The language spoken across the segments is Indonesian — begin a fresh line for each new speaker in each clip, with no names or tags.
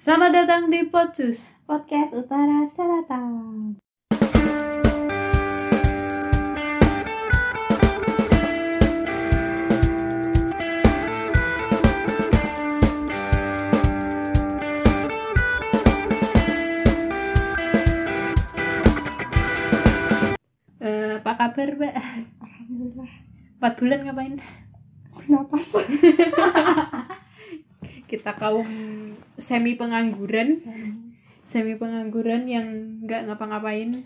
Selamat datang di Pocus.
Podcast Utara Selatan.
Eh, apa kabar, Mbak?
Alhamdulillah.
4 bulan ngapain?
Kenapa sih?
Kita kaum semi pengangguran, semi pengangguran yang nggak ngapa-ngapain,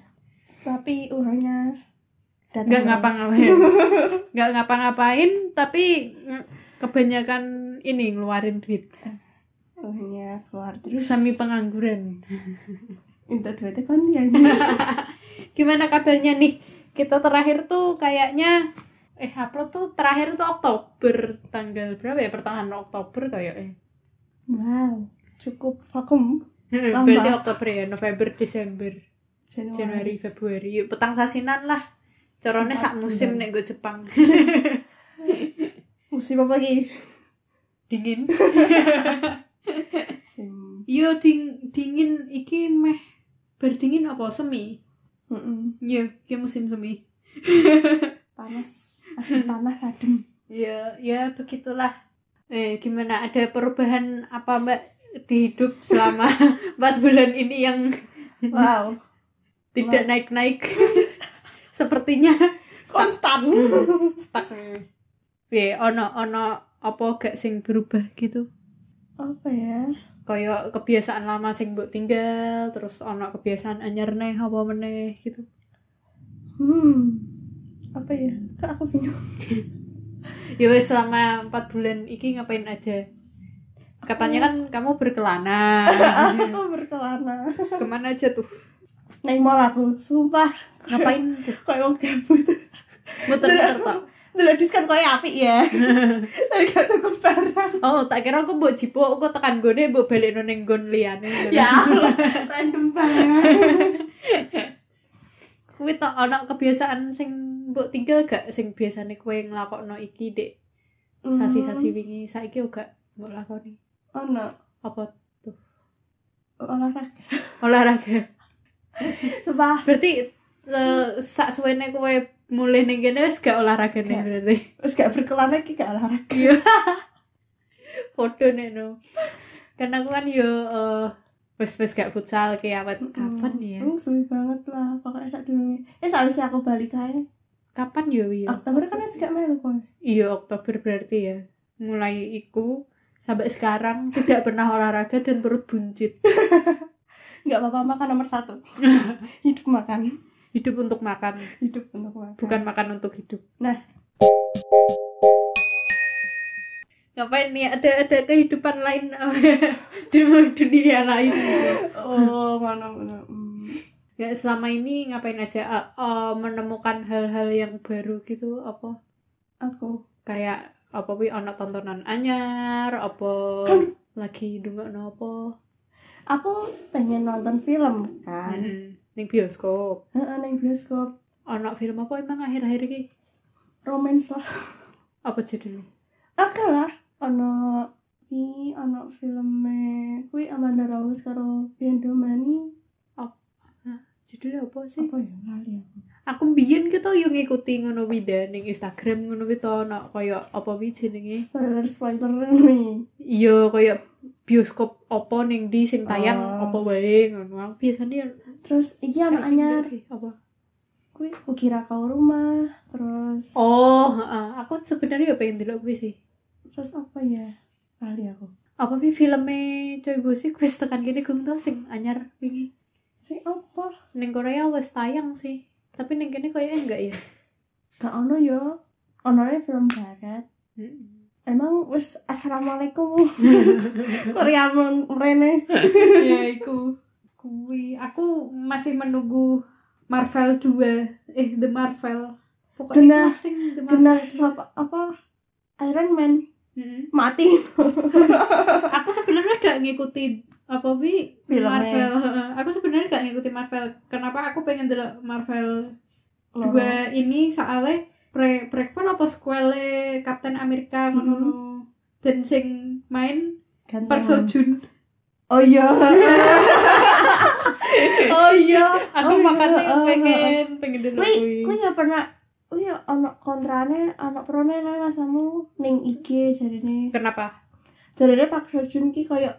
Tapi uangnya datang
nggak
terus.
ngapa-ngapain, nggak ngapa-ngapain, tapi mm, kebanyakan ini ngeluarin duit.
Uangnya keluar terus.
Semi pengangguran.
Untuk duitnya kan dia.
Gimana kabarnya nih? Kita terakhir tuh kayaknya eh upload tuh terakhir tuh Oktober tanggal berapa ya? Pertengahan Oktober eh. kayaknya.
wow. Cukup vakum. Lama.
Berarti Oktober ya, November, Desember.
Januari.
Januari Februari yuk petang sasinan lah corone sak musim nek gue Jepang
Musim apa lagi?
dingin
Musim.
yo ding dingin iki meh berdingin apa semi
Mm-mm.
yo iki musim semi
Panas. Akhir panas adem.
ya ya begitulah eh gimana ada perubahan apa mbak di hidup selama empat bulan ini yang
Wow.
tidak naik naik sepertinya
Konstan.
stuck Piye, ono ono apa gak sing berubah gitu
apa ya?
kaya kebiasaan lama sing mbok tinggal terus ono kebiasaan anyar neh apa meneh gitu
Hmm. Apa ya? Kak aku bingung.
ya wes selama empat bulan iki ngapain aja katanya kan kamu berkelana
aku berkelana.
kemana aja tuh
Naik mall aku. Sumpah.
ngapain
Kayak mau gabut.
muter-muter tok
Delok diskon kaya apik ya. Tapi gak tuku barang.
oh tak kira aku mbok jipuk aku tekan gone mbok balik ning nggon liyane
Ya, Allah, random banget.
kuwi tok ono kebiasaan sing mbok tinggal gak sing biasane kowe nglakokno iki dek sasi-sasi wingi saiki uga mbok lakoni
Hmm, Ono
apa
olahraga.
olahraga
Sumpah,
Berarti eh, sak suwene kowe mulai ning kene wis gak olahraga nih
Gak.
berarti.
wis gak berkelana iki gak olahraga.
Iya. Podo nek no. Karena aku kan yo eh, wis wis gak futsal kiawet kapan ya?
Hmm, suwi banget lah, pokoknya sak durunge. Eh sawise aku balik kae.
Kapan yo ya?
Oktober kan wis gak melu kowe.
Iya Oktober berarti ya. Mulai iku sampai sekarang tidak pernah olahraga dan perut buncit.
Gak apa-apa makan nomor satu Hidup makan,
Hidup untuk makan,
hidup untuk makan.
bukan makan untuk hidup.
Nah.
Ngapain nih ada ada kehidupan lain di dunia lain gitu.
Oh, mana mana. Hmm.
Ya selama ini ngapain aja Eh, eh, menemukan hal-hal yang baru gitu apa
Aku
kayak apa wi ono tontonan anyar apa
Kan-
lagi dungokno apa
aku pengen nonton film kan.
Hmm, ning bioskop.
Heeh, nang bioskop.
Ono film apa emang akhir-akhir ini?
Romance lah.
Apa judulnya?
Oke lah, ono ini ono filmnya kui Amanda Rose karo Bian Domani
Judulnya apa sih?
apa ya lali aku
Aku mbiyen kita yo ngikuti ngono wi da ning Instagram ngono wi to ono koyo apa wi jenenge?
spoiler spoiler nih
Iya koyo bioskop apa ning di sing tayang
Oh.
apa wae ngono. Aku biasanya
terus iki
saiki
ono anyar
gitu sih, apa
kui kukira kau rumah terus
Oh, heeh. aku sebenarnya ya pengen dulu kuwi sih.
terus apa ya lali aku
Apa sih filmnya Choi Bo Sik wis tekan gini gue tau sing anyar wingi.
si apa
Ning Korea wis tayang sih. Tapi ning kene kayaknya enggak ya.
gak ono yo ono film barat emang wes assalamualaikum Korea men- merene
ya iku. Kuwi aku masih menunggu Marvel 2 eh The Marvel. Pokoknya
Genah.
iku sing The Marvel.
kena apa apa Iron Man
Mm-mm.
mati
aku sebenarnya gak ngikutin apa wi
Filmnya.
Marvel. Aku sebenarnya gak ngikutin Marvel. Kenapa aku pengen dulu Marvel dua ini soalnya pre prequel apa sequelnya
Hmm.
Captain America ngono
Mhm.
dan sing main Park
Hmm. Ganteng.
Seo Joon
oh iya oh iya
aku
Oh iya,
makannya
oh,
pengen pengen dulu
kui kui ya pernah kui ya ono kontrane ono prone lah masamu ning IG jarine
kenapa
jarine Pak Sojun ki koyo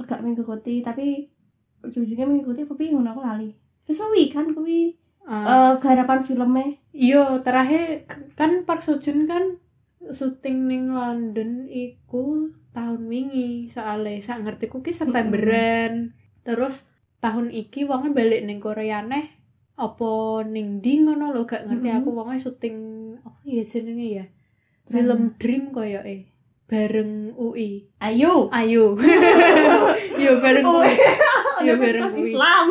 agak mengikuti tapi ujung-ujungnya mengikuti apa ngono aku lali terus wi kan kui
Ah,
eh garapan filmnya
iya terakhir kan Park Seo Joon kan syuting ning London iku tahun wingi soalnya sak ngerti ki Septemberan terus tahun iki wonge balik ning Korea neh apa ning ndi ngono lho gak ngerti
Mm-mm.
aku wonge syuting apa ya jenenge ya film Dream koyoke bareng UI
ayo
ayo yo bareng
UI.
UI Iya, bareng
Universitas
kui.
Islam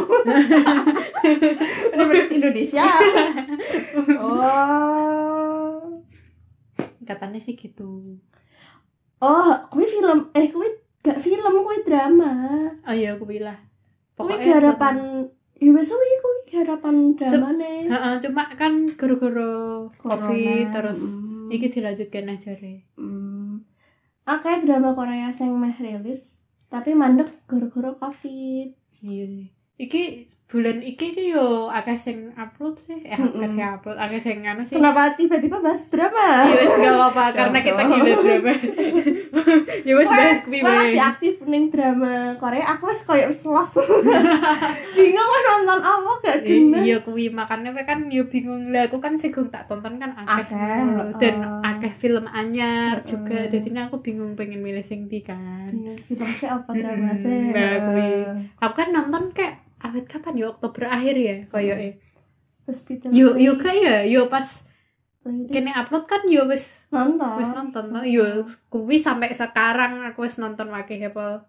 Universitas Indonesia oh
katanya sih gitu
oh kui film eh kui gak film kui drama
oh iya aku bilang
Kuwi garapan ya wis kuwi kuwi garapan damane.
Heeh, cuma kan gara-gara covid
Corona,
terus
mm,
iki dilanjutkan aja re
mm. Akeh drama Korea sing meh rilis tapi mandek gara-gara Covid.
iya sih. iki bulan iki ki yo akeh sing upload sih eh akeh
Mm-mm.
sing upload akeh sing anu sih
Kenapa tiba-tiba bahas drama?
Ya wes gak apa-apa karena kita
apa.
gila drama. ya wes
Wah,
bahas kuwi
Malah
wae.
lagi aktif ning drama Korea, aku wis koyo wis los. Bingung wis nonton apa gak
I-
guna.
Iya kuwi makanya we kan yo bingung lah aku kan segum tak tonton kan akeh
Akeh,
ngono. dan
heeh.
akeh film anyar
Heeh.
juga jadi ini aku bingung pengen milih sing di kan.
Bingung Film sih apa drama
Mm,
sih?
nah, kuwi. Aku kan nonton kayak awet kapan ya Oktober akhir ya koyoke.
Hospital.
Yo yo kayak yo pas
Ladies.
kene upload kan yo wis
nonton.
wis nonton toh. yo kuwi sampai sekarang aku wis nonton wae Apple.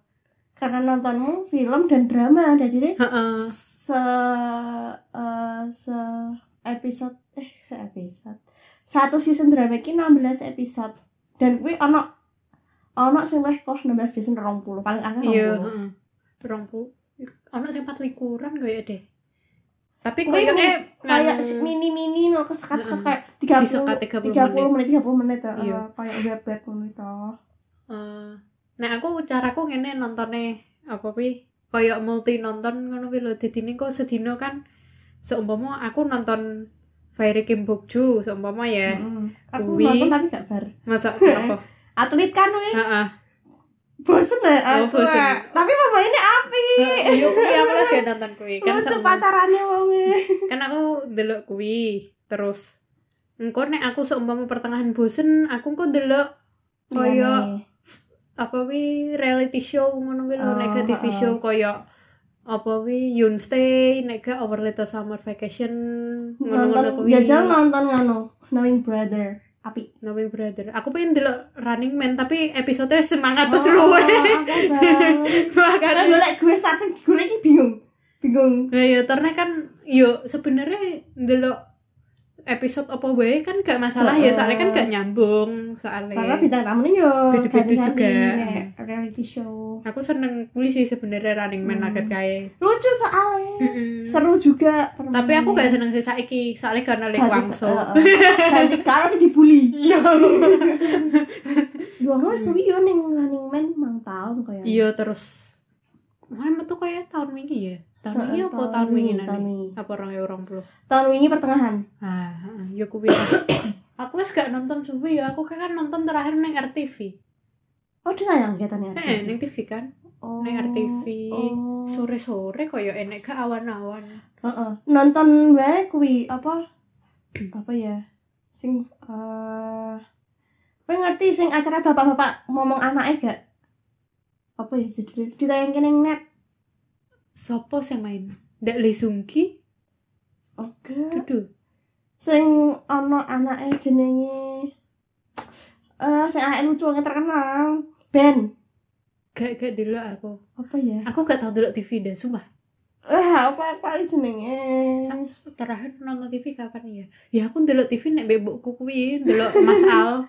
Karena nontonmu film dan drama dari
Heeh.
se eh, se episode eh se episode satu season drama ki 16 episode dan kuwi ono ono sing weh koh 16 season 20 paling
Iya,
akeh 20
heeh. Rong pu- Ono sing pat likuran koyo e deh. Tapi
Kuwi
koyo
mini-
e
kayak mini mini nol kesekat sekat kayak tiga
Disekat 30
puluh tiga puluh menit tiga puluh menit eh,
Iya.
kayak web web ngono itu
Nah, Eh, aku caraku ngene nontone apa kuwi? Koyo multi nonton ngono kuwi lho. Dadi kok sedina kan seumpama aku nonton Fairy Kim Bokju seumpama ya.
Mm-mm. aku
kuwi-
nonton tapi gak bar
Masa kenapa?
atlet kan weh
Heeh.
bosen lah
Oh,
aku
bosen.
eh. tapi pemainnya api
Iya, kuwi aku lagi nonton kuwi. Kan
lucu
seumpama-
pacarannya e. wonge
kan aku delok kuwi terus engko nek aku seumpama pertengahan bosen aku engko delok
Oh, iya.
Koyo apa wi reality show ngono wi lho
Oh,
nek gak TV
heeh.
show koyo apa wi Yunstay nek gak Our Little Summer Vacation ngono-ngono
nonton
kuwi
jajal nonton ngano Knowing Brother api
Knowing Brother aku pengen delok Running Man tapi episode semangat terus
Oh,
luwe
akeh banget. Karena
makanya
golek gue start sing digolek iki bingung bingung
Nah, ya ternyata kan yo sebenarnya delok episode apa wae kan gak masalah ya soalnya kan gak nyambung soalnya
karena bintang tamunya yo
Iya. Beda-beda
ganti-ganti,
juga.
kayak reality show
aku seneng kuwi sih sebenarnya Running Man
Hmm.
agak kayak
lucu soalnya seru juga
tapi aku gak seneng sih saiki soalnya karena Lee
Ganti-
Kwang Soo
eh, eh. ganti karena sih dibully
iya
yo ngono suwi yo ning Running Man mang tahun kayak
iya terus Wah, metu kayak tahun wingi ya tahun wingi apa tahun wingi
Eh, tahun
nanti
wingi
apa orang ya, orang bro
tahun wingi pertengahan
ah ah, ya kuwi aku wis gak nonton suwi ya aku kayak kan nonton terakhir neng RTV
oh ditayang kegiatannya
eh neng TV kan
oh,
neng RTV.
oh.
sore sore koyo ya, enek gak awan-awan
Heeh. Nonton wae kuwi apa? Apa ya? Sing eh kowe ngerti sing acara bapak-bapak ngomong anaknya gak? Apa ya judulnya? Ditayangke ning net.
sopo sing main Ndak Lee Seung Ki
Oke.
Dudu
Sing ana anaknya jenenge eh sing anake lucu banget terkenal. Ben.
gak gak dulu aku
Apa ya?
aku gak tau dulu TV dah sumpah
Eh, apa apa jenenge?
Sam- terakhir nonton TV kapan ya? Ya aku ndelok TV nek mbek mbokku kuwi, ndelok Mas Al.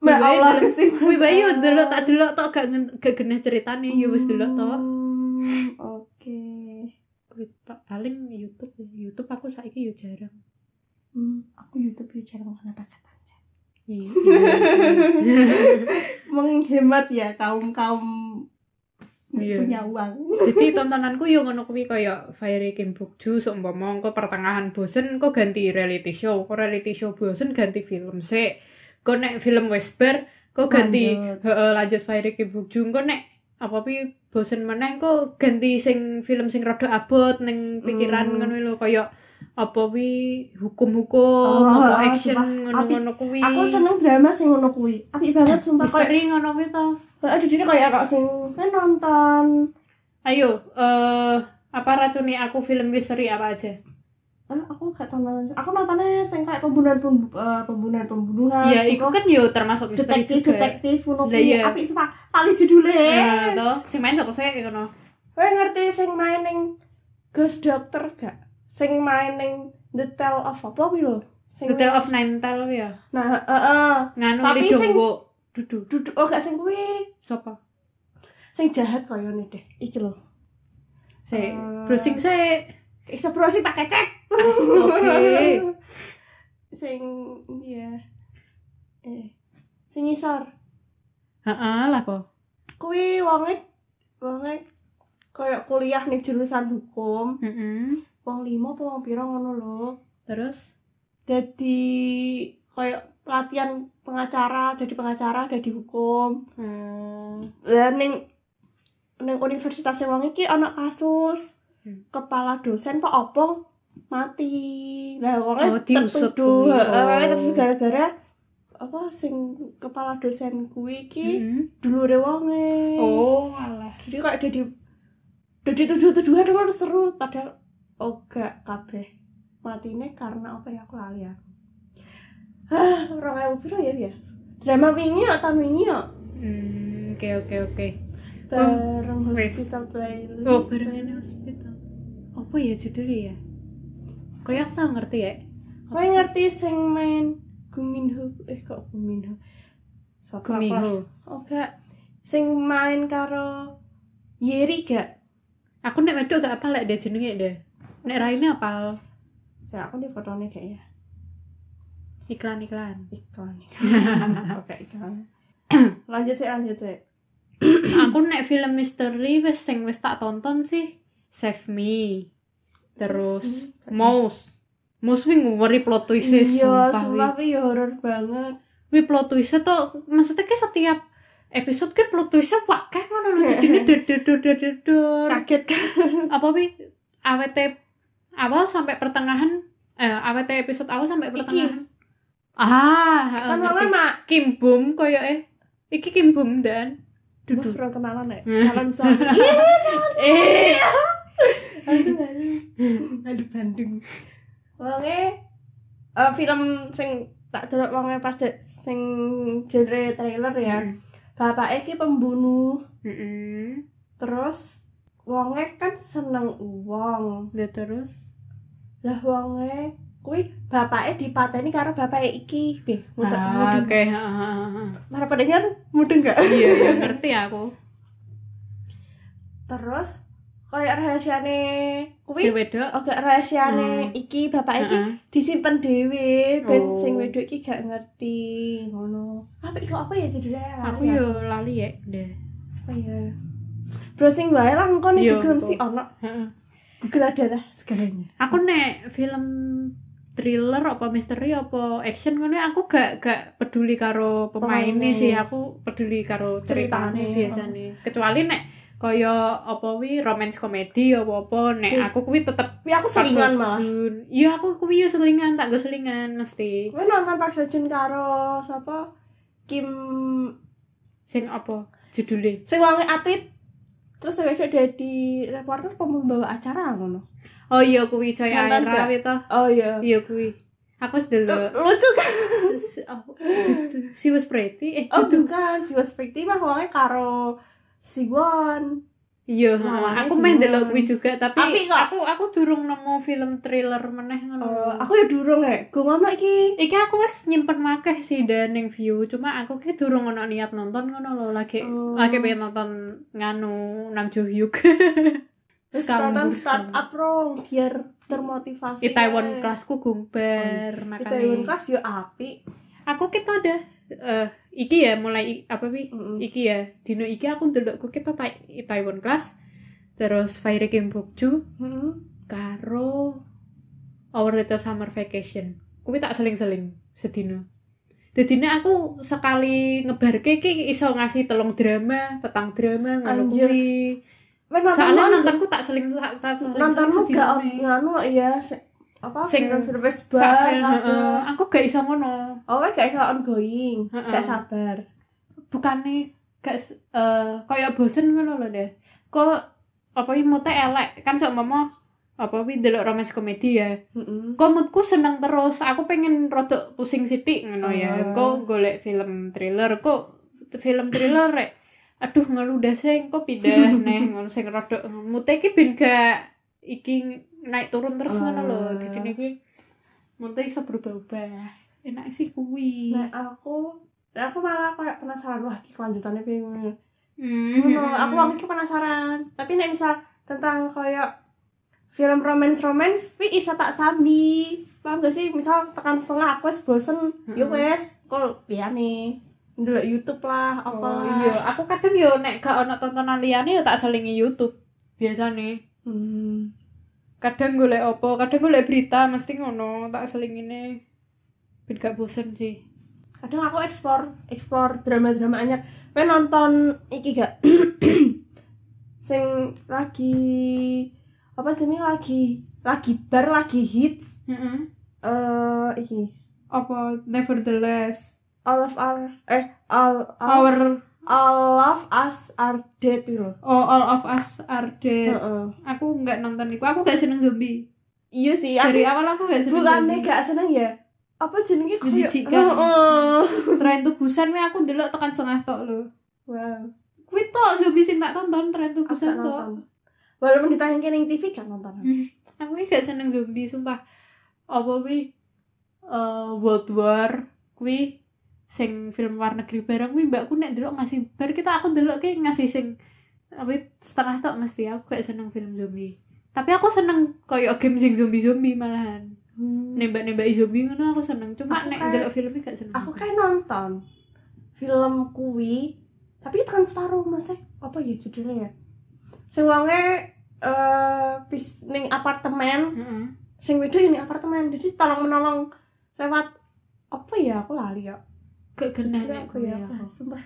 Mbak
Kuwi
Allah
delok-
Gusti.
Kuwi bae yo ndelok tak delok tok gak ngen- gak genah ceritane
Iya,
yo wis delok tok.
Hmm, Oke.
Kuwi tok paling YouTube, YouTube aku saiki yo jarang.
Hmm, aku YouTube ya jarang kena kata
Iya.
menghemat ya kaum kaum
Iya.
punya uang
Jadi tontonanku yo ngono kuwi kaya Fairy Kim Bokju seumpama engko pertengahan bosen engko ganti reality show, kok reality show bosen ganti film sik. Kok nek film wis ber, kok ganti
Lanjut.
heeh lanjut Fairy Kim Bokju engko nek apa pi bosen meneh engko ganti sing film sing rada abot ning pikiran
Hmm.
ngono lho kaya apa pi hukum-hukum,
Oh,
apa
ah,
action
sumpah.
ngono-ngono kuwi.
aku seneng drama sing ngono kuwi apik banget sumpah kayak
misteri ngono kuwi to.
ada diri kayak kok sing kan nonton
Ayo, eh apa racuni aku film misteri apa aja?
ah aku gak tau nonton aku nontonnya sing kayak pembunuhan pem- eh, pembunuhan pembunuhan
Iya,
sing
iku
kok
kan yo termasuk misteri
detektif
juga. ya.
detektif ngono
Lah,
kuwi
iya.
apik sumpah tali judule
Nah, toh, sing main sapa sih ngono.
Kowe ngerti sing main ning Ghost Doctor gak? Sing main ning The Tale of apa kuwi lho? Sing
The Tale of Nine Tail ya.
Nah, heeh.
Nganu Tapi
Tapi sing-
Dongwo. Dudu,
Duduk oh gak sing kuwi,
sapa?
sing jahat koyo ngene deh. Iki lho.
Sik,
Eh.
browsing sik.
Iso browsing pakai cek.
Oke.
Sing iya. Eh. Sing ngisor.
Heeh, lah po.
Kuwi wonge wonge koyo kuliah nih jurusan hukum.
Heeh.
Wong lima apa wong pira ngono lho.
Terus
jadi kayak latihan pengacara jadi pengacara jadi hukum
hmm,
dan neng neng universitas wong iki ana kasus
Hmm.
kepala dosen kok opo mati lah
Oh,
wongnya
diusut kuwi.
tertuduh heeh,
Oh.
wongnya tertuduh gara-gara apa sing kepala dosen kuwi iki
heeh.
dulu wonge
Hmm. Oh, alah.
jadi kayak jadi jadi tuduh-tuduhan kan seru padahal oga kabeh matine karena apa ya aku lali ya ah orang ewu piro ya ya drama wingi ya tahun wingi ya
Hmm, oke oke oke.
bareng
wis.
hospital playlist
Oh, barengan hospital. Apa ya judulnya ya? Kayak aku ngerti ya.
kowe ngerti sing main Guminho eh kok Guminho sapa apa
Gumiho.
oga sing main karo Yeri gak
Aku nek wedok gak apa lek deh jenenge deh. Nek Raine apal
saya aku di fotonya kayak ya
iklan-iklan.
iklan oke iklan lanjut sih lanjut sih
aku nek film misteri wis sing wis tak tonton sih Save Me terus Mouse Mouse wing ngeri plot twist
iya
sumpah
sumpah
wi.
tapi ya horor banget
wi plot twist tuh maksudnya ki setiap episode ki plot twistnya wakeh ngono lho jadi dedededededor
kaget kan
apa wi awet awal sampai pertengahan eh awet episode awal sampai pertengahan ah
kan
ngerti.
orangnya mak
Kim Bum koyo eh iki Kim Bum dan
duduk
duduk
orang kenalan ya
Hmm.
calon suami iya calon
eh
suami aduh Bandung wonge eh, film sing tak delok wonge pas de- sing genre trailer ya bapak iki pembunuh
Mm-mm.
terus wonge kan seneng uang
Ya terus
lah wonge kuwi bapaknya dipateni karo bapaknya iki bih mudeng
ah,
mudeng
oke ha, ha, ha, ha.
marah padengar mudeng gak
iya iya ngerti aku
terus kayak rahasiane
si
kuwi
wedok
oke
Hmm.
rahasiane iki bapak iki
ha, ha.
disimpen dhewe ben
Oh.
sing wedok iki gak ngerti ngono apa iku apa ya judulnya
aku
ya
yo lali ya deh
apa ya browsing wae lah engko nih
Iya,
Google
engko.
mesti ono
Ha, ha.
Google adalah segalanya
aku nek film thriller apa misteri apa action ngono aku gak gak peduli karo pemainnya
Pemainnya.
sih aku peduli karo ceritanya
Ceritanya. oh.
biasanya kecuali nek kaya apa wi romance komedi apa apa nek
Wi.
aku kuwi tetep
tapi aku
Park
selingan
Seo
malah
Joon. iya aku kuwi yo selingan tak go selingan mesti
gue nonton Park Seo Joon karo siapa Kim
sing apa judulnya
sing wangi atit terus sing wedok dadi reporter pembawa acara ngono
oh iya kuwi Joy
Nonton
Aira
gak?
itu
oh iya
iya kuwi aku wis delok
lucu kan
S- s- apa? Dudu- she was pretty eh
Oh
dudu
bukan, si Was Pretty mah wongnya karo si Won.
iya
Lawannya
aku main
Simon.
delok kuwi juga tapi
Tapi kok-
aku aku durung nemu film thriller meneh ngono
Eh, aku ya durung ya, gue mama iki.
Iki aku wis nyimpen wakeh sih dening view, cuma aku ki durung ono niat nonton ngono lho, lagi
Oh.
lagi pengen nonton nganu Nam Jo Hyuk.
Terus
Scam,
nonton
scam.
startup rong biar termotivasi.
Itaewon kelasku gumper
Oh,
makanya.
Itaewon Class yo api.
Aku kita ada eh iki ya mulai i- apa pi
Mm-mm.
iki ya dino iki aku ndelokku kita Taiwan Class terus Fairy Kim Bokju
Mm-mm.
karo Our Little Summer Vacation kuwi tak seling-seling sedino Dadine aku sekali ngebarke iki iso ngasih telung drama, petang drama ngono
Anjir.
kuwi.
Weh,
Soalnya
nonton-
nontonku tak seling tak seling
nontonmu gak
sedino.
nganu ya se- apa
Sing-
film service
Sak
bar
film, heeh. aku gak iso ngono
oh weh, gak iso ongoing
Heeh.
gak sabar
bukannya gak s- eh kayak bosen ngono lho deh kok apa ini moodnya elek kan sok mama apa ini delok romance komedi ya
Mm-mm.
kok moodku seneng terus aku pengen rodok pusing sithik ngono ya
Ah.
kok golek film thriller kok film thriller rek aduh ngeluh dah sing kok pindah neh ngono sing rodok moodnya iki ben gak iki naik turun terus ngono lho
Ah.
jadi iki moodnya iso berubah-ubah enak sih kuwi
nah aku nah, aku malah kayak penasaran wah iki kelanjutannya pengen
Hmm.
Ngono, aku waktu itu penasaran. Tapi nek misal tentang koyo film romance romance, wi isa tak sambi. Paham gak sih? Misal tekan setengah aku wis bosen, yo
Hmm.
wes, kok biane ndelok YouTube lah, apalah.
Oh, iya, aku kadang yo nek gak ono tontonan liyane yo tak selingi YouTube. Biasane
Hmm.
kadang golek opo, kadang golek berita mesti ngono, tak selingine. Ben gak bosen sih.
Kadang aku explore explore drama-drama anyar. Wi nonton iki gak? Sing lagi apa sih ini lagi lagi bar lagi hits
Heeh.
eh iki
Apa nevertheless
all of our eh all, all
our
All of us are dead gitu loh.
oh, all of us are dead.
Heeh.
Aku nggak nonton iku, aku gak seneng zombie.
Iya sih,
Dari
aku
awal aku gak seneng. zombie.
bukannya gak seneng ya. Apa jenenge koyo-
Menjijikan.
Heeh.
Tren tubusan weh aku ndelok tekan setengah tok lho.
Wow,
Kuwi tok zombie sing tak tonton tren
aku gak
tubusan tok.
nonton. Walaupun ditayangkan yang TV gak nonton.
aku ini gak seneng zombie sumpah apa kuwi eh, World War kuwi sing film luar negeri bareng kuwi mbakku nek delok ngasih bar kita aku delok ki ngasih sing apa setengah tok mesti aku gak seneng film zombie tapi aku seneng koyo game sing zombie-zombie malahan
Hmm.
nembak-nembak zombie ngono aku seneng cuma
Aku
nek
kayak-
delok filmnya gak seneng
Aku kan- kayak nonton film kuwi, tapi tekan separuh maksudnya apa ya judulnya ya? Sing wonge eh bis ning apartemen,
Heeh.
sing wedo yang ning apartemen. Jadi tolong menolong lewat apa ya aku lali ya.
gak kena
Kira
nek
aku
kuwi
ya,
aku.
Pak. sumpah.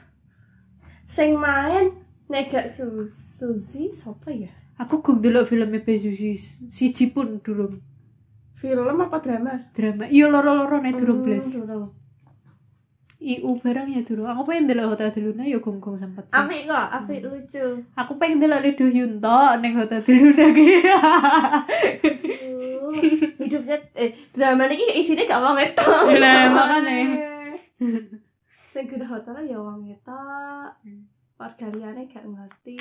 Sing main Nega Su Suzy siapa ya?
aku gak delok filmnya Bezusi siji pun durung
Film apa drama?
drama iya loro-loro nek durung blas
Hmm, durung.
IU bareng ya dulu. Aku pengen delok Hotel Deluna ya gonggong sempet. sih.
Apik kok, apik lucu.
Aku pengen delok Rido Yunto ning Hotel Deluna gitu. ki.
Duh, hidupnya eh drama ini isinya gak wong etok.
Lah, makane.
Sing gede hotel ya wong etok.
Hmm.
Warga liyane gak ngerti.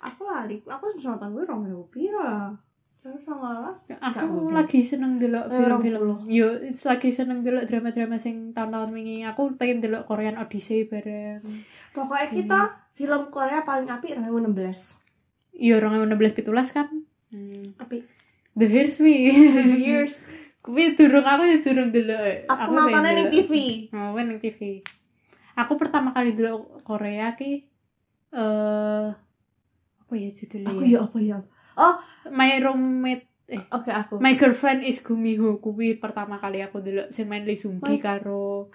Aku lali, aku nonton gue rong ewu pira. Terus sangalas. gak
Aku
mungkin.
lagi seneng delok
Eh, rong
film-film. Yo lagi seneng delok drama-drama sing tahun-tahun wingi. Aku pengen delok Korean Odyssey bareng.
Pokoknya kita film Korea paling apik 2016.
Yo 2016 17 kan. Hmm.
Apik.
The Hair's Me.
Years.
Kuwi durung aku ya durung delok.
Aku,
pengen
nontonnya
delok.
ning TV.
Oh, gue neng TV. Aku pertama kali dulu Korea ki eh apa ya judulnya?
Aku
ya?
ya apa ya?
My roommate
Oke aku.
My girlfriend is Gumiho kuwi pertama kali aku dulu sing main Lee Seung Gi
My-
karo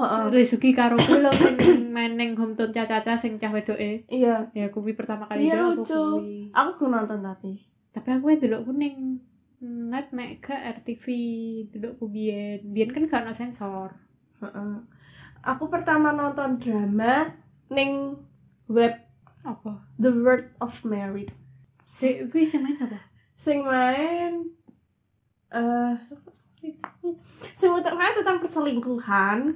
uh.
heeh.
Lee Seung Gi karo kuwi lho sing main neng hometown caca-caca sing cah wedoke.
iya.
Ya kuwi pertama kali
Iya,
dulu aku
lucu.
kuwi.
Aku gak nonton tapi.
Tapi aku dulu ku ning net nek ke RTV dulu ku biyen. Biyen kan gak ono sensor.
Heeh. Aku pertama nonton drama ning web
Apa?
The World of Merit.
Si kuwi sing main apa?
Sing main eh siapa? sing utamanya tentang perselingkuhan.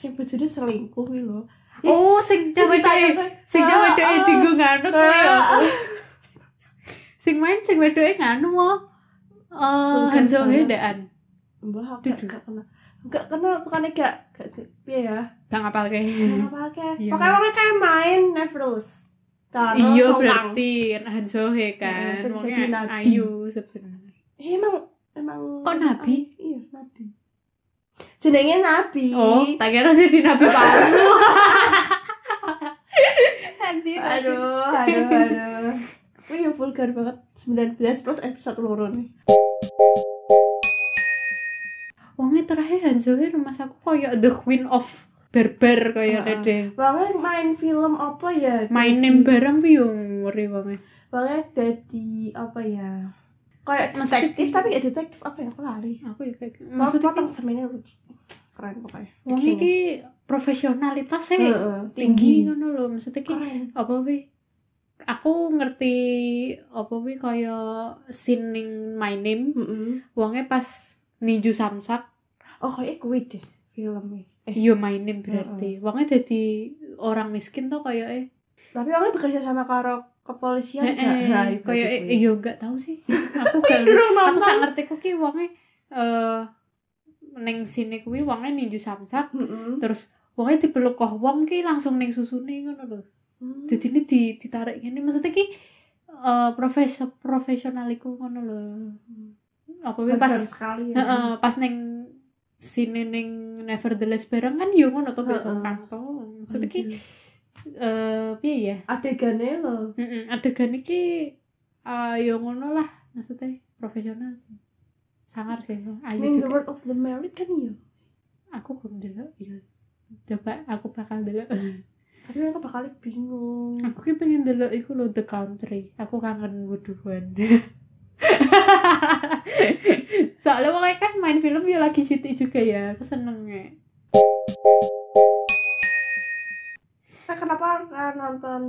Sing bojone selingkuh gitu loh.
Oh, sing cah wedoke. Sing
Ah,
cah wedoke dienggo nganu kuwi ya. Sing main sing wedoke nganu wo. Eh,
Bukan
Hanzo
saya.
Hendaan.
Mbah aku
Duduk.
gak kenal. Gak kenal bukannya gak gak piye ya?
Gak ngapal
Gak pake.
Iya.
Pokoknya orangnya kayak main Neverless. Karo
Iya
Songkang.
berarti Hanzo He kan.
Iya, sing
Wongnya
jadi nabi.
ayu sebenarnya.
Eh, Iya, Emang emang
Kok nabi?
Iya, nabi. jenenge Nabi.
Oh, tak kira jadi nabi palsu.
anjir. Aduh, aduh, aduh. Wih, vulgar banget. 19 plus episode loro nih.
Wongnya terakhir Hanzoe rumah aku kayak the queen of barbar kayak
Heeh.
dede.
Wangnya main film apa ya?
Main name barang piye ngeri wongnya.
Wangnya dadi apa ya? Kayak
Maksudnya-
detektif tapi ya detektif apa ya? Aku lali.
Aku ya kayak
Maksudnya
maksudnya
potong semennya lucu. keren pokoknya.
wong
Actionnya.
iki profesionalitasnya
Heeh,
tinggi ngono lho maksudnya ki
Keren.
apa wi aku ngerti apa wi kaya sining my name
Heeh.
wonge pas ninju samsak
Oh, kayak kuwi deh filmnya. Eh,
yo my name berarti wonge jadi orang miskin tuh kaya eh
tapi wangnya bekerja sama karo kepolisian
eh, eh,
Nah, itu
kaya eh
kuwi.
yo gak tahu sih aku gak
Durung
aku
nonton.
sak ngerti ku ki wonge eh neng sini kuwi wonge ninju samsak
Heeh.
terus wonge dipeluk koh wong ki langsung ning susune ngono lho
Hmm.
jadi ini di, ditarik ini maksudnya ki eh profes profesionaliku ngono lho apa wi pas
Keren sekali ya.
Heeh, pas neng sini neng nevertheless bareng kan yo ngono to besok
Heeh.
kang to maksudnya ki eh piye ya
adegannya loh
Heeh, adegan iki eh yo ngono lah maksudnya profesional sih sangar sih ayo
in the
juga
world of the married kan iya
aku kurang dulu iya coba aku bakal dulu
tapi mereka bakal bingung
aku ki pengen dulu iku lho the country aku kangen wuduhan soalnya pokoknya kan main film ya lagi situ juga ya aku seneng ya
nah, kenapa ra nonton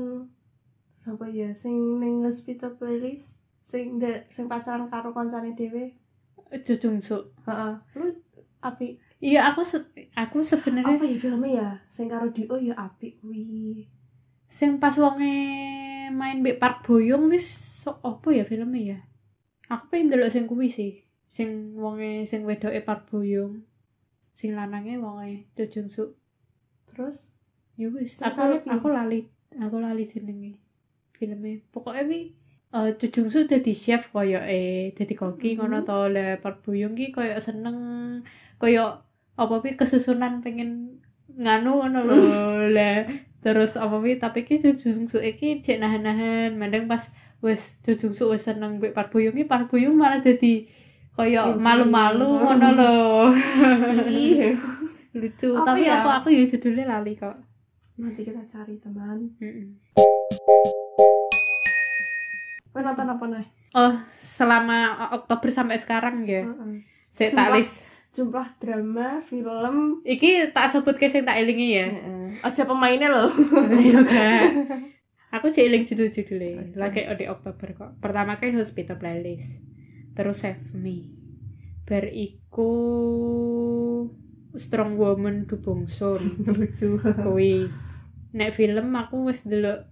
siapa ya sing ning hospital playlist sing de, sing pacaran karo koncane dhewe
Jujung Suk.
heeh lu api
Iya aku se aku sebenarnya
apa ya filmnya ya sing karo Dio ya api kuwi
sing pas wonge main mbek Park Boyong wis so, apa ya filmnya ya. Aku pengen delok sing kuwi sih. Sing wonge sing wedoke Park Boyong. Sing lanange wonge Jo Jung Suk.
terus
Ya wis,
Ceritane
aku
piye?
aku lali aku lali jenenge filmnya. Pokoknya wi eh Jo Jung Suk dadi chef koyo eh dadi koki
Mhm.
ngono to le Park Boyong ki koyo seneng koyo apa wi kesusunan pengen nganu ngono lho le terus apa wi tapi ki Jo Jung Suk iki cek nahan-nahan mandang pas wis Jo Jung Suk wis seneng mbek Park Boyong ki Park Boyong malah dadi koyo
Gengsi.
malu-malu ngono lho
Ih,
lucu
Apa
tapi
ya?
aku aku ya judulnya lali kok
nanti kita cari teman
Mm-mm.
Kowe nonton apa nih
Oh, selama oh, Oktober sampai sekarang ya.
Heeh.
Saya tak
Hmm. Sumpah.
list.
jumlah drama film
Iki tak sebut ke sing tak elingi ya.
heeh aja pemainnya loh
Iya Kak. Aku cek eling judul-judulnya. Lagi di Oktober kok. Pertama ke Hospital Playlist. Terus Save Me. Beriku Strong Woman Du Bongsun
lucu
kuwi. Nek film aku wis delok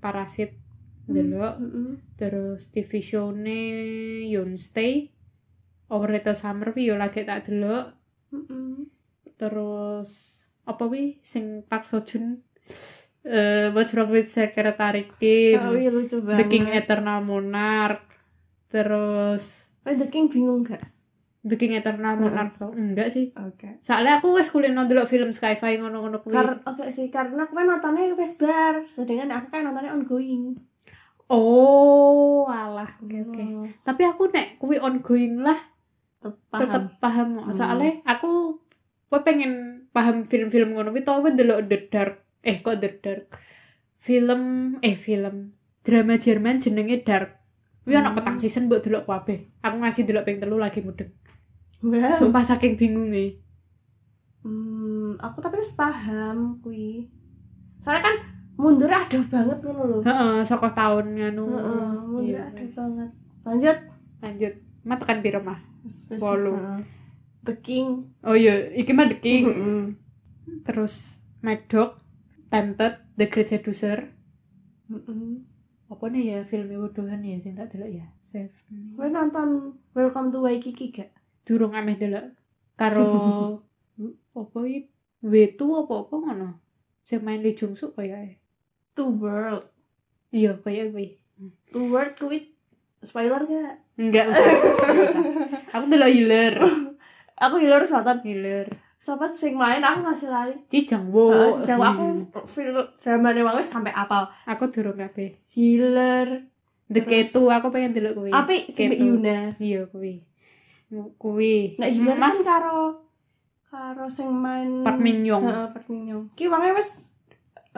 Parasit delok
Heeh.
terus TV show-ne Yun Stay Overrated Summer wi yo lagi tak delok
Heeh.
terus apa wi sing Park Seo Joon eh What's Wrong with Secretary Kim
Oh iya lucu banget.
The King Eternal Monarch terus
Eh, The King bingung gak?
The King Eternal
Heeh.
Monarch tau? enggak sih
Oke.
soalnya aku wes kulino delok film sci-fi ngono-ngono kuwi
Karena oke sih karena aku kan nontonnya wes bar, sedangkan aku kan nontonnya ongoing.
oh alah oke oke
Oh,
tapi aku nek kuwi ongoing lah
tep-
tetep
Paham.
paham kok.
Hmm.
soalnya aku gue pengen paham film-film ngono kuwi tau gue delok The Dark eh kok The Dark film eh film drama Jerman jenenge Dark kuwi ana
Hmm.
petang season mbok delok kabeh aku ngasih delok ping telu lagi mudeng
Wow.
sumpah saking bingunge
Hmm, aku tapi wes paham kui. Soalnya kan mundur aduh banget ngono loh.
heeh saka tahun nganu
Heeh, mundur
Iya.
aduh banget. Lanjut.
lanjut mah tekan piro mah
Wes- wes,
Walu.
heeh. ah. The King.
oh iya iki mah deki
Heeh.
terus Mad Dog Tempted The Great Seducer
Heeh.
apa nih ya filmnya waduhan ya sing tak delok ya Save Me.
Kowe nonton Welcome to Waikiki gak?
durung ameh delok karo apa iki Wetu apa-apa ngono. Sing main Lee Jung Suk kayake.
Two World.
Iya, kaya kuwi.
Two World kuwi spoiler gak?
Enggak usah. Enggak usah. Aku delok healer.
aku hilur selatan
Hilir.
sobat sing main aku masih lari
Cijangwo.
Heeh, sejauh Oh, aku
Hmm.
film drama nih wangis sampai apal
aku durung kabeh.
healer
The
Terus?
Ketu aku pengen delok kuwi.
api
Ketu.
Mbak Yuna
Iya kuwi. Kuwi.
nek healer
Mah,
kan karo karo sing main
Park Min Young.
Heeh, Park Min Young ki wangnya wes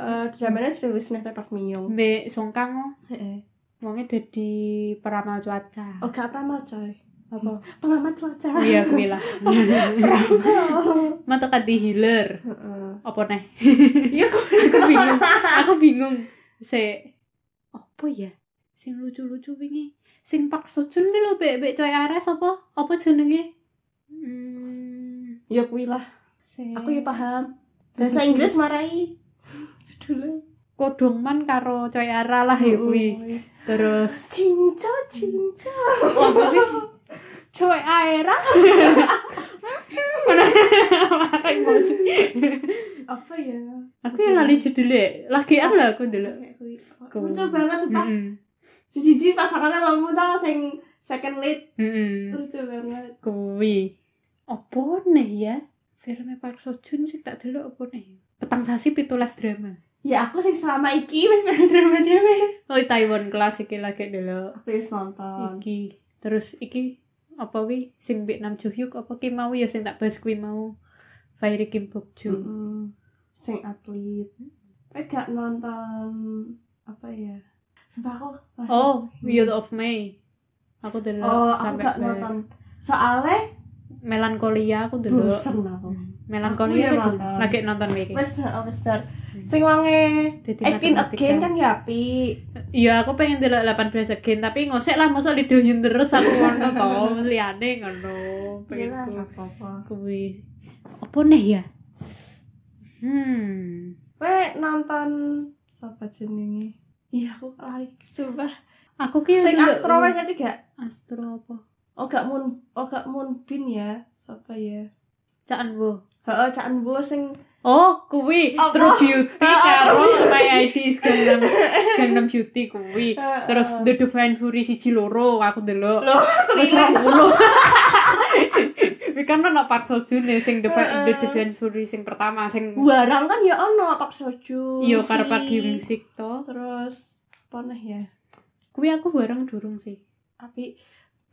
eh dramanya rilis nih Park Min Young
Mbek Songkang
Heeh.
wonge dadi peramal cuaca.
oh gak pernah coy
Apa?
pengamat cuaca
Iya kuwi lah.
Peramal.
Matokat di healer.
Heeh.
Apa neh?
iya kok
aku bingung. Aku bingung. Se apa ya? Sing lucu-lucu wingi. Sing Pak Sojun ki lho bek bek coy ares apa? Apa jenenge? Hmm.
ya kuwi lah
se-
aku ya paham bahasa Inggris marai judulnya
Kodongman karo coy ara lah ya kuwi. Terus
cinta cinta
wah kuwi coy ara. Emosi.
apa ya
aku yang lali judulnya lagian lah aku dulu Aku-
lucu banget sumpah
mm
jiji pasangannya lemu tau sing second lead lucu banget
kuwi apa nih ya filmnya Park Seo Joon sih tak delok apa nih petang sasi pitulas drama
ya aku sing selama iki wis pengen drama drama
oh Taiwan kelas iki lagi delok
aku wis nonton
iki terus iki apa wi sing Mbak Nam Joo Hyuk apa ki mau ya sing tak bahas kuwi mau Fairy Kim Bok Joo
Mm-mm. sing atlet eh gak nonton apa ya sumpah aku masih-
oh Youth of May aku delok
oh aku
sampai
gak
ke-
nonton soalnya
melankolia aku delok
bosen aku
melankolia
Aku ya
aku
nonton.
lagi nonton iki
wes heeh, wes bar sing wange
Jadi
acting
matematika.
again kan ya api
Iya, aku pengen delok 18 again, tapi ngosek lah masa lidoyun terus aku ngono to, wis liyane ngono. Pengen
Gila,
ku-
gak apa-apa
kuwi. Apa nih ya? Hmm.
Weh nonton sapa jenenge? Iya aku lari sumpah.
Aku ki
Sing
delok-
Astro wes ngerti gak?
Astro apa?
Oh gak mun oh gak mun bin ya. Sapa ya?
Caan Wo.
Heeh, Cak Enbo sing
Oh, kuwi
Apa? Ah,
True Beauty karo My ID Gangnam Gangnam Beauty kuwi.
Heeh.
Terus The Divine Fury siji loro aku delok.
Loh,
Wis
iya.
rong puluh. Wih kan ana Park Seo Joon nih, sing The
Ah,
Fi- The Divine Fury sing pertama sing
Barang kan ya ono Pak Soju.
Iya, karo pagi musik to.
Terus poneh ya.
Kuwi aku bareng durung sih.
Api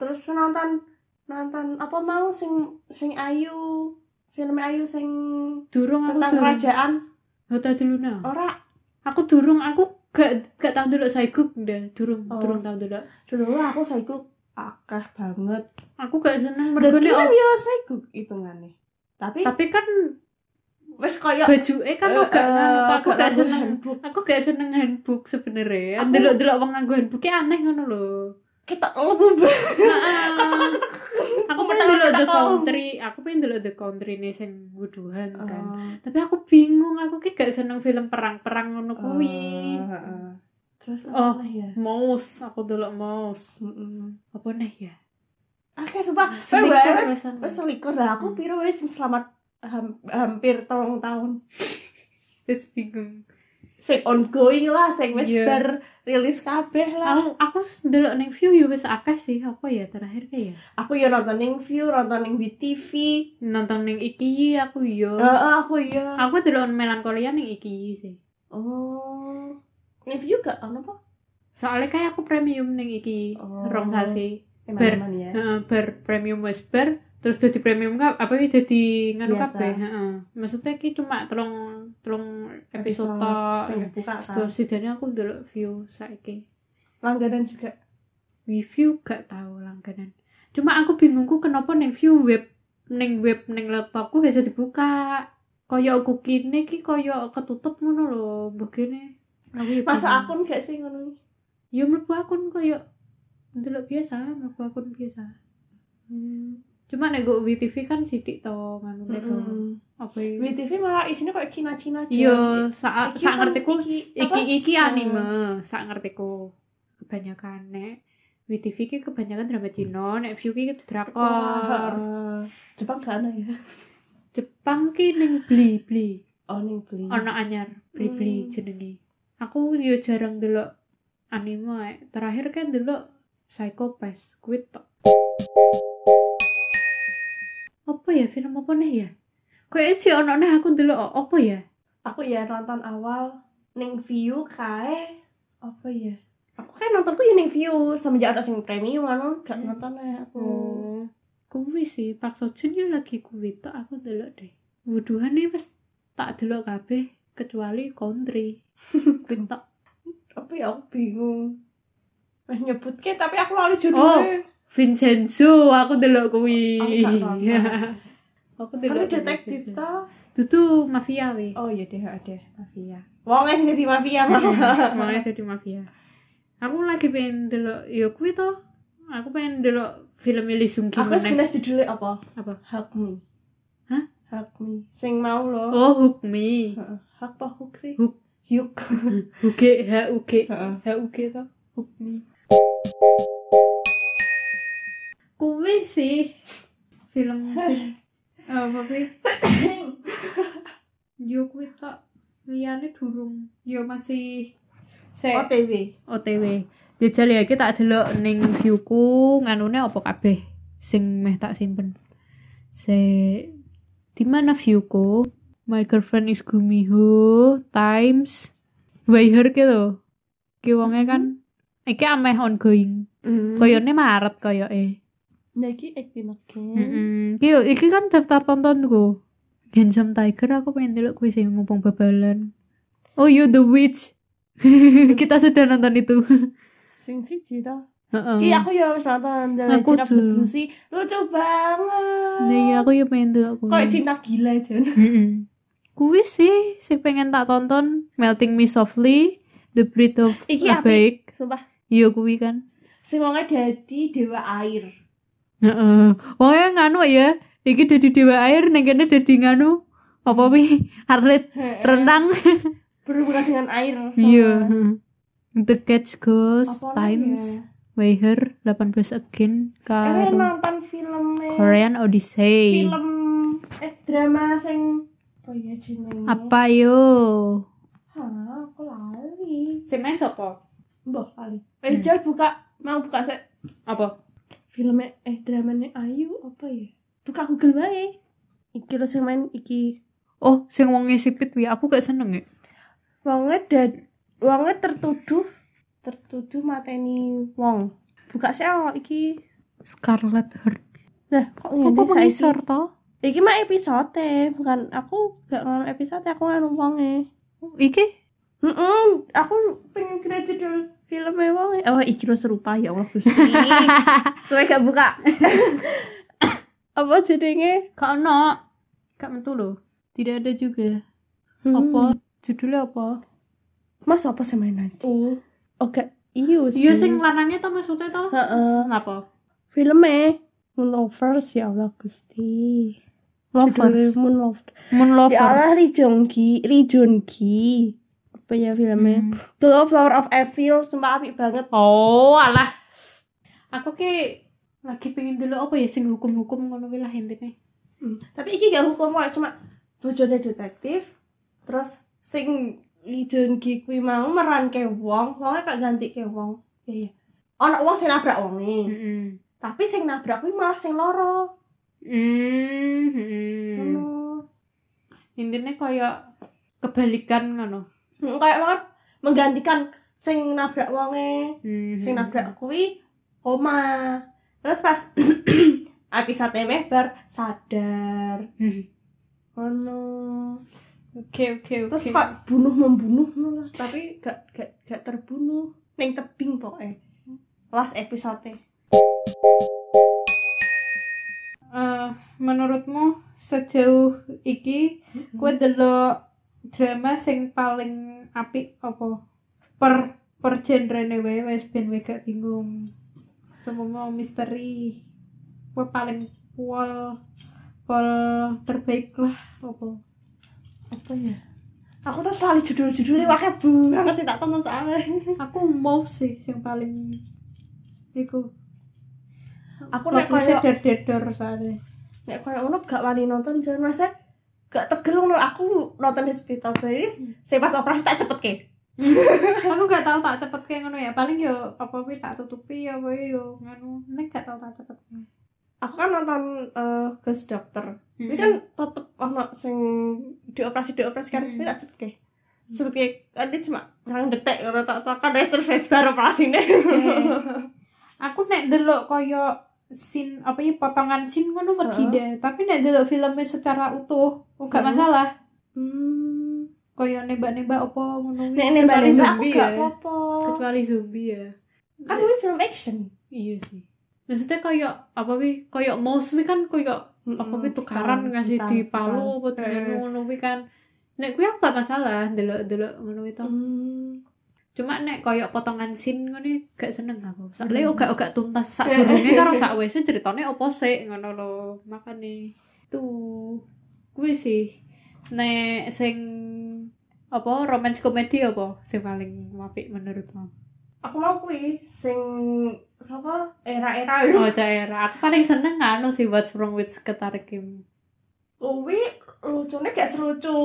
terus nonton nonton apa mau sing sing Ayu film Ayu sing
Durung aku
tentang Oh.
durung.
kerajaan
Hotel di Luna.
ora
Aku durung, aku gak gak tau dulu Saiguk ndak, durung,
Oh.
durung tau dulu.
dulu aku saiku akeh banget
Aku gak seneng
Berarti
mergone
kan
op-
ya saiku hitungannya tapi
tapi kan
wes koyo
bajuke kan
Eh,
gak
eh,
ngono to, aku
gak
gak
nganggo
seneng.
handbook.
Aku gak seneng handbook sebenarnya.
Aku-
Delok-delok wong nganggo handbook aneh ngono lho.
kita lemu banget
Heeh. aku pengen
Ketok,
dulu the
ketok.
country, aku pengen dulu the country nih sing wuduhan kan.
Oh.
tapi aku bingung aku ki gak seneng film perang-perang ngono kuwi
Eh, eh, eh. terus
iya. Oh.
apa ya
mouse aku delok mouse
Mm-mm.
apa nih ya
Oke, sumpah,
Selikur
Weh, wes
wesan.
wes selikur lah aku piro wes sing selamat ham- hampir telung tahun.
wis bingung
Sing ongoing lah, sing wes
Iya.
bar rilis kabeh lah.
aku aku delok ning view ya wis akeh sih apa ya terakhir kayak ya
Aku yo nonton ning view, nonton ning BTV.
nonton ning iki aku
Heeh,
yo
aku ya. yo.
aku delok melankolia ning iki sih
Oh. Ning view gak ono apa?
soalnya kayak aku premium ning iki
Oh.
rong sasi
Emang-emang ya.
Heeh, bar premium wis bar terus jadi premium ka- apa ya jadi nganu
Biasa.
kabeh heeh maksudnya ki cuma telung telung episode, tok.
sing dibuka kan.
Terus setidaknya aku dulu view saiki.
Langganan juga.
Review gak tahu langganan. Cuma aku bingungku kenapa neng view web neng web neng laptopku bisa dibuka. Koyo aku kini ki koyo ketutup ngono lho, mbok kene. Aku ya
Masa
bingung.
akun gak sih ngono?
Ya mlebu akun koyo ndelok biasa, mlebu akun biasa. Hmm. Cuma nek go WTV kan sithik to ngono to. Apa ya?
WTV malah isinya kayak Cina-Cina cuy.
Iya, saat
Iki
saat
kan
ngertiku
apa
iki
sih?
iki anime sak ngertiku kebanyakan nek WTV ki kebanyakan drama Cina nek view ki
Wah,
drakor
eh, Jepang gak ada ya?
Jepang ki ning bli bli
Oh, ning beli.
ana anyar bli bli
Hmm.
jenenge aku yo jarang delok anime eh. terakhir kan delok Psycho Pass kuwi tok apa ya film apa nih ya kayaknya sih ono nih aku ndelok apa ya
aku ya nonton awal ning view kae apa ya aku kan nontonku ya ning view semenjak ada sing premium anu gak
Hmm.
nonton ae aku
Hmm. kuwi sih Park Seo Joon ya lagi kuwi tok aku ndelok deh wuduhane wis tak delok kabeh kecuali country kuwi tok
tapi ya aku bingung Wes nyebutke tapi aku
Oh,
lali judulnya
Vincenzo aku delok kuwi
Aku gak nonton.
Oh, iya. aku
Karena
delok
detektif ta
Dudu mafia we
oh iya deh ada mafia wong es jadi mafia mah
Iya, malah jadi mafia aku lagi pengen delok ya kuwi toh aku pengen delok film Lee Sung Ki
aku
meneh.
sebenarnya judulnya apa
Apa?
hug me
Hah?
hug me sing mau lo
oh hook me
Heeh. hug apa hug sih
Hug.
hug
Huge, ha uge,
Heeh.
ha uge toh.
hug me
Kuwi sih film sing apa kuwi? Yo kuwi tok. Liyane durung. Yo masih sek
OTW
OTW. Jajal ya iki tak delok ning viewku nganune apa kabeh sing meh tak simpen. Sek di mana viewku? My girlfriend is Gumiho times by her ki lho. Ki wonge kan iki ameh ongoing.
Mm-hmm.
Koyone Maret koyoke.
Nah, iki acting
Hmm,
again.
Heeh. Ki yo- iki kan daftar tontonku. Handsome Tiger aku pengen delok kuwi sing mumpung babalan. Oh, you the witch. Kita sudah nonton itu.
Sing siji to.
Heeh.
Ki aku ya wis nonton The
Hmm. Aku
Legend of the
dulu.
Blue Sea. Lucu banget.
Iya, aku yo pengen delok kuwi.
Kayak cinta gila, Jon.
Mm-mm. Kuwi sih sing pengen tak tonton Melting Me Softly, The Breath of
Iki
a
apik.
Bake.
Sumpah,
Iya kuwi kan.
sing wonge dadi dewa air.
Heeh. Pokoknya nganu ya. Iki dadi dewa air ning kene dadi nganu apa wi atlet renang.
Berhubungan dengan air. sama-
Iya. The Catch Goes
Apa lagi
Times
ya?
by Her 18 Again
Kalian
karo
nonton filmnya
Korean Odyssey.
film eh drama sing apa ya jenenge?
Apa yo?
Hah, aku lali.
Sing main sapa?
Mbah lali.
Hmm.
Wis Jon buka mau buka sek
Apa?
filmnya eh dramanya Ayu apa ya buka Google wae iki lo sing main iki
Oh, sing wong sipit wi aku gak seneng ya.
wonge dad wonge tertuduh tertuduh mateni wong buka sih awak iki
Scarlet Heart.
lah kok
Kok
ngene saiki?
pengisor to?
iki mah episode bukan aku gak ngono episode aku nganu wonge
Iki
Heeh, aku pengen kira judul filmnya wonge oh iki lo serupa ya Allah Gusti suwe gak buka apa jenenge
gak ono. Gak metu lho. Hmm. Tidak ada juga. Apa judulnya apa?
Hmm. Mas apa sih mainan?
Oh.
Oke, iyo sih.
Iya sing lanangnya to maksudnya to?
Heeh.
Napa?
filmnya Moon Lovers ya Allah Gusti. Judulnya
Lovers.
Moon Lovers.
Moon
Ya
Lovers.
Allah Lee Jong Ki, Lee Jong Ki. Apa ya filmnya?
Hmm.
The Love Flower of Evil, sumpah apik banget.
Oh, alah. Aku ki lagi pengen dulu apa ya sing hukum-hukum ngono kuwi lah intine.
Hmm. Tapi iki gak hukum kok cuma bojone detektif. Terus sing Lee Jong Ki kuwi mau meran ke wong, wongnya gak ganti ke wong. Iya iya. Ono wong sing nabrak wonge.
Heeh.
Tapi sing nabrak kuwi malah sing loro.
Mm.
Ngono.
Hmm, Intine koyo kebalikan ngono.
Mm, kayak banget menggantikan sing nabrak wonge sing nabrak kuwi koma terus pas episode mebar sadar ngono
Oke, oke, oke.
terus kok bunuh membunuh ngono lah tapi gak gak gak terbunuh Hmm. neng tebing pokoknya last episode
Eh, menurutmu sejauh iki
Hmm. Mhm.
kue delok drama sing paling apik apa per per genre nih wae wes ben wae gak bingung semua misteri kue paling pol pol terbaik lah apa
apa ya aku tuh selalu judul-judulnya wakil banget sih tak tonton soalnya
aku mau sih yang paling iku
aku nek
waktu
koyo
saya der der der soalnya
nek koyo ngono gak wani nonton jangan masa gak tegel ngono aku nonton di hospital Paris saya pas operasi tak cepet ke
aku gak tahu tak cepet
Hmm.
kayak ngono ya paling yo apa wih tak tutupi ya apa yo nganu nek gak tahu tak cepet
aku kan nonton eh Ghost Doctor
Hmm.
ini kan tetep ono sing dioperasi dioperasi kan
Hmm.
ini tak sebut sebut kan dia cuma orang detek kalau tak tak kan dia terus baru operasi
Eh, aku nek delok koyo sin apa ya potongan sin ngono wedi
Heeh.
deh. Tapi nek delok filmnya secara utuh enggak
Heeh.
masalah.
hmm.
Koyo nembak-nembak apa ngono kuwi.
Nek nembak
Kecuali
nembak aku
zombie
gak
ya.
apa-apa.
Kecuali zombie ya.
Kan ini film action.
Iya sih. Maksudnya koyo apa wi? Koyo mouse wi kan koyo apa
Hmm,
wi tukaran ngasih di palu apa
Eh.
dengan ngono wi kan. Nek kuwi aku gak masalah delok-delok ngono itu.
Hmm.
Cuma nek koyo potongan sin ngono gak seneng aku. Soalnya
Hmm.
oga ogak tuntas sak
Eh.
durunge karo sak wis ceritane opo sik ngono lho. Makane tuh kuwi sih nek sing apa romance komedi apa sing paling apik menurutmu?
Aku mau kuwi sing sapa era-era itu.
Oh, Caira. Aku paling seneng anu sih What's Wrong with Sekitar Kim. Oh.
Kuwi lucunya gak selucu.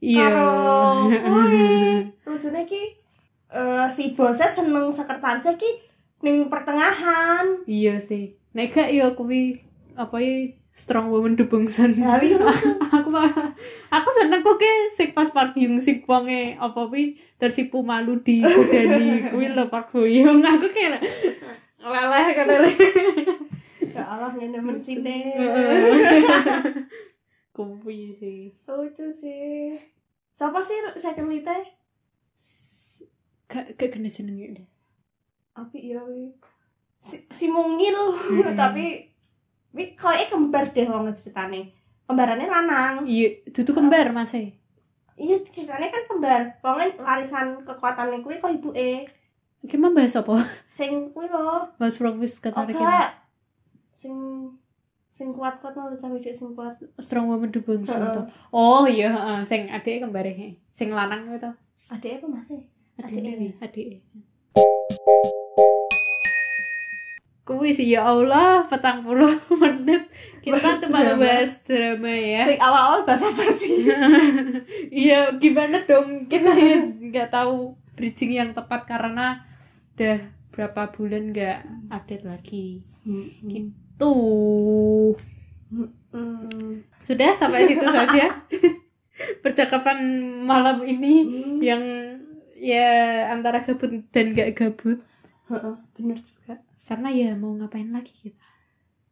Iya.
Karo kuwi lucunya ki eh, si bosnya seneng sekretarisnya ki ning pertengahan.
Iya sih. Nek gak yo kuwi apa ya Strong Woman Dubungsen.
Ya kuwi lucu.
aku malah- aku seneng kok ke sing pas Park Yung sing wonge apa kuwi tersipu malu di kudani kuwi lho Park Bo Yung. Aku kayak leleh kan leleh.
Ya Allah ngene men sini.
Kuwi sih.
Lucu sih. Siapa sih second lead
Gak gak kena jenenge deh.
Apik ya wi. Si, si mungil
Mm-mm.
tapi wi koe kembar deh wong ceritane. Kembarannya lanang.
Iya, dudu kembar Mas. e.
Iya ceritanya kan kembar. Wonge warisan kekuatan kuwi kok ibuke.
Iki mah bahas apa?
Sing kuwi lho,
What's wrong with Sekitar Kim.
oga. Sing sing kuat-kuat mau cah wedok sing kuat.
Strong Woman Dubung
Heeh.
Sunto. Oh iya, heeh. sing adike kembare. he. Sing lanang kuwi to.
Adeknya apa masih? Adike.
Adike, adike. Kuwi sih ya Allah, petang puluh menit kita
Bahas
cuma
drama.
bahas drama ya.
Sing awal-awal bahasa apa sih?
Iya, gimana dong? Kita ya nggak tahu bridging yang tepat karena udah berapa bulan nggak update lagi. Tuh.
Hmm.
Sudah sampai situ saja percakapan malam ini
Hmm.
yang ya antara gabut dan gak gabut
Heeh, Bener juga.
karena ya mau ngapain lagi kita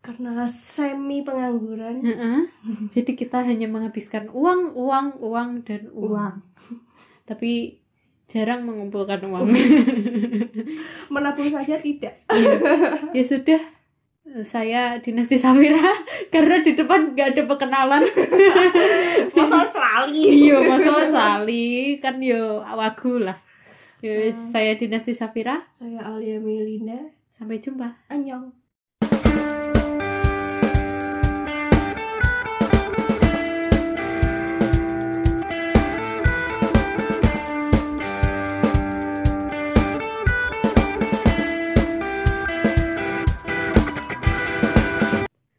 Karena semi pengangguran.
Heeh. jadi kita hanya menghabiskan uang uang uang dan uang, tapi jarang mengumpulkan uang
Menabung saja tidak.
ya, ya sudah saya dinasti Samira karena di depan gak ada perkenalan
Masa Australia.
iya masa sali kan yo wagu lah Yo,
Hmm.
saya dinasti Safira
Saya Alia Melinda.
sampai jumpa
Annyeong.